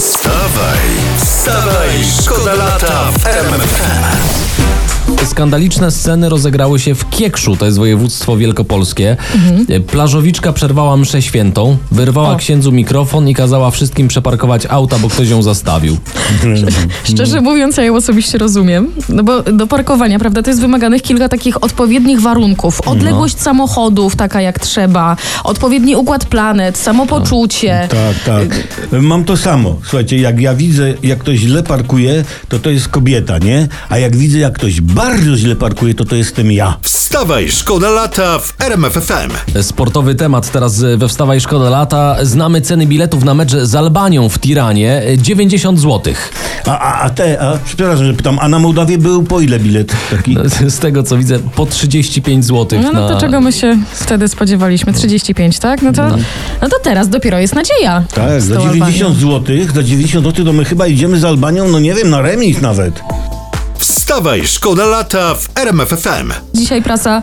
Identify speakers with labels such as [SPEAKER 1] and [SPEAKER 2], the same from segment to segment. [SPEAKER 1] Wstawaj, wstawaj, szkoda lata w RMFFM.
[SPEAKER 2] Skandaliczne sceny rozegrały się w Kiekszu, to jest województwo wielkopolskie.
[SPEAKER 3] Mhm.
[SPEAKER 2] Plażowiczka przerwała mszę świętą, wyrwała księdzu mikrofon i kazała wszystkim przeparkować auta, bo ktoś ją zastawił.
[SPEAKER 4] Mm.
[SPEAKER 3] Szczerze mówiąc, ja ją osobiście rozumiem, no bo do parkowania, prawda, to jest wymaganych kilka takich odpowiednich warunków.
[SPEAKER 4] No.
[SPEAKER 3] Odległość samochodów, taka jak trzeba, odpowiedni układ planet, samopoczucie.
[SPEAKER 4] Tak, tak. Mam to samo. Słuchajcie, jak ja widzę, jak ktoś źle parkuje, to to jest kobieta, nie? A jak widzę, jak ktoś bardzo źle parkuje, to to jestem ja.
[SPEAKER 1] Wstawaj, szkoda lata w RMFFM.
[SPEAKER 2] Sportowy temat teraz we Wstawaj Szkoda Lata. Znamy ceny biletów na mecz z Albanią w Tiranie. 90 zł.
[SPEAKER 4] A, a, a te, a, przepraszam, że pytam, a na Mołdawie był po ile bilet taki?
[SPEAKER 2] Z tego co widzę, po 35 zł.
[SPEAKER 3] No, no
[SPEAKER 4] Tak.
[SPEAKER 3] to czego my się wtedy spodziewaliśmy? 35, tak? No to, no to teraz dopiero jest nadzieja.
[SPEAKER 4] Tak,
[SPEAKER 3] z
[SPEAKER 4] za
[SPEAKER 3] tą Albanią.
[SPEAKER 4] 90 zł, za 90 zł to my chyba idziemy z Albanią, no nie wiem, na remis nawet.
[SPEAKER 1] Wstawaj, szkoda lata w RMFFM.
[SPEAKER 3] Dzisiaj prasa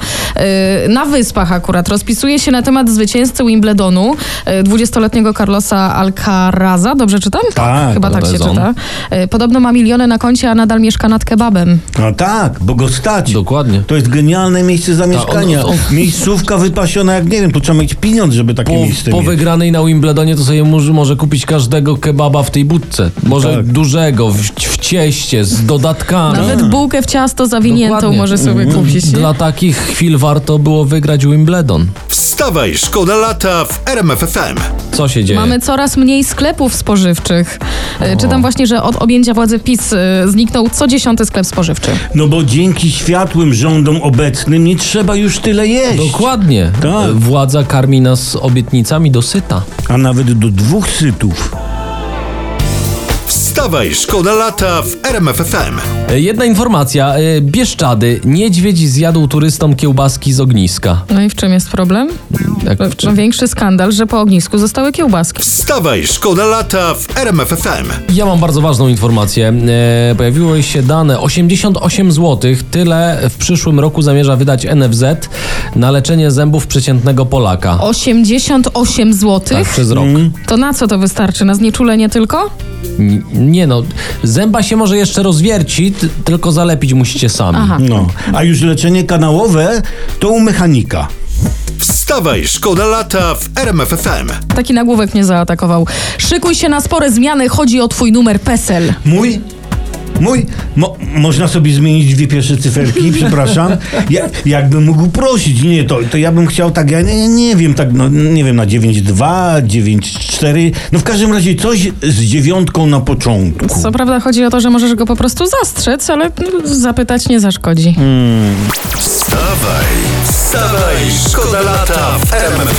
[SPEAKER 3] y, na Wyspach akurat rozpisuje się na temat zwycięzcy Wimbledonu, y, 20-letniego Carlosa Alcaraza. Dobrze czytam?
[SPEAKER 4] Tak,
[SPEAKER 3] Chyba tak się
[SPEAKER 2] Alcarazon.
[SPEAKER 3] czyta. Y, podobno ma miliony na koncie, a nadal mieszka nad kebabem.
[SPEAKER 4] No tak, bo go stać.
[SPEAKER 2] Dokładnie.
[SPEAKER 4] To jest genialne miejsce zamieszkania.
[SPEAKER 2] on-
[SPEAKER 4] Miejscówka wypasiona, jak nie wiem, tu trzeba mieć pieniądz, żeby takie miejsce
[SPEAKER 2] Po, po
[SPEAKER 4] mieć.
[SPEAKER 2] wygranej na Wimbledonie to sobie może, może kupić każdego kebaba w tej budce. Może
[SPEAKER 4] Tak.
[SPEAKER 2] dużego, w, w cieście, z dodatkami.
[SPEAKER 3] Nawet bułkę w ciasto zawiniętą
[SPEAKER 2] Dokładnie. Mm,
[SPEAKER 3] może sobie kupić. nie?
[SPEAKER 2] Dla takich chwil warto było wygrać Wimbledon.
[SPEAKER 1] Wstawaj, szkoda lata w RMFFM.
[SPEAKER 2] Co się dzieje?
[SPEAKER 3] Mamy coraz mniej sklepów spożywczych. Y, Czytam właśnie, że od objęcia władzy PiS y, zniknął co dziesiąty sklep spożywczy.
[SPEAKER 4] No bo dzięki światłym rządom obecnym nie trzeba już tyle jeść.
[SPEAKER 2] Dokładnie.
[SPEAKER 4] Tak.
[SPEAKER 2] Władza karmi nas obietnicami dosyta.
[SPEAKER 4] a nawet do dwóch sytów.
[SPEAKER 1] Wstawaj, szkoda lata w RMFFM.
[SPEAKER 2] E, Jedna informacja. y, Bieszczady. Niedźwiedź zjadł turystom kiełbaski z ogniska.
[SPEAKER 3] No i w czym jest problem?
[SPEAKER 2] Jak w
[SPEAKER 3] No,
[SPEAKER 2] czym?
[SPEAKER 3] większy skandal, że po ognisku zostały kiełbaski.
[SPEAKER 1] Wstawaj, szkoda lata w RMFFM.
[SPEAKER 2] Ja mam bardzo ważną informację. E, pojawiły się dane 88 zł. Tyle w przyszłym roku zamierza wydać NFZ na leczenie zębów przeciętnego Polaka.
[SPEAKER 3] 88 zł?
[SPEAKER 2] Tak, przez rok.
[SPEAKER 3] To na co to wystarczy? Na znieczulenie tylko?
[SPEAKER 2] N- Nie no, zęba się może jeszcze rozwierci, t- tylko zalepić musicie sami.
[SPEAKER 3] Aha.
[SPEAKER 4] No, a już leczenie kanałowe to u mechanika.
[SPEAKER 1] Wstawaj, szkoda lata w RMFFM.
[SPEAKER 3] Taki nagłówek mnie zaatakował. Szykuj się na spore zmiany, chodzi o twój numer PESEL.
[SPEAKER 4] Mój? Mój? Mo, można sobie zmienić dwie pierwsze cyferki, przepraszam. Ja, jakbym mógł prosić, nie, to, to ja bym chciał tak, ja nie, nie wiem, tak, no, nie wiem, na 9,2, 9,4, no w każdym razie coś z dziewiątką na początku.
[SPEAKER 3] Co prawda chodzi o to, że możesz go po prostu zastrzec, ale no, zapytać nie zaszkodzi.
[SPEAKER 1] Wstawaj, wstawaj, szkoda lata w RMFFM.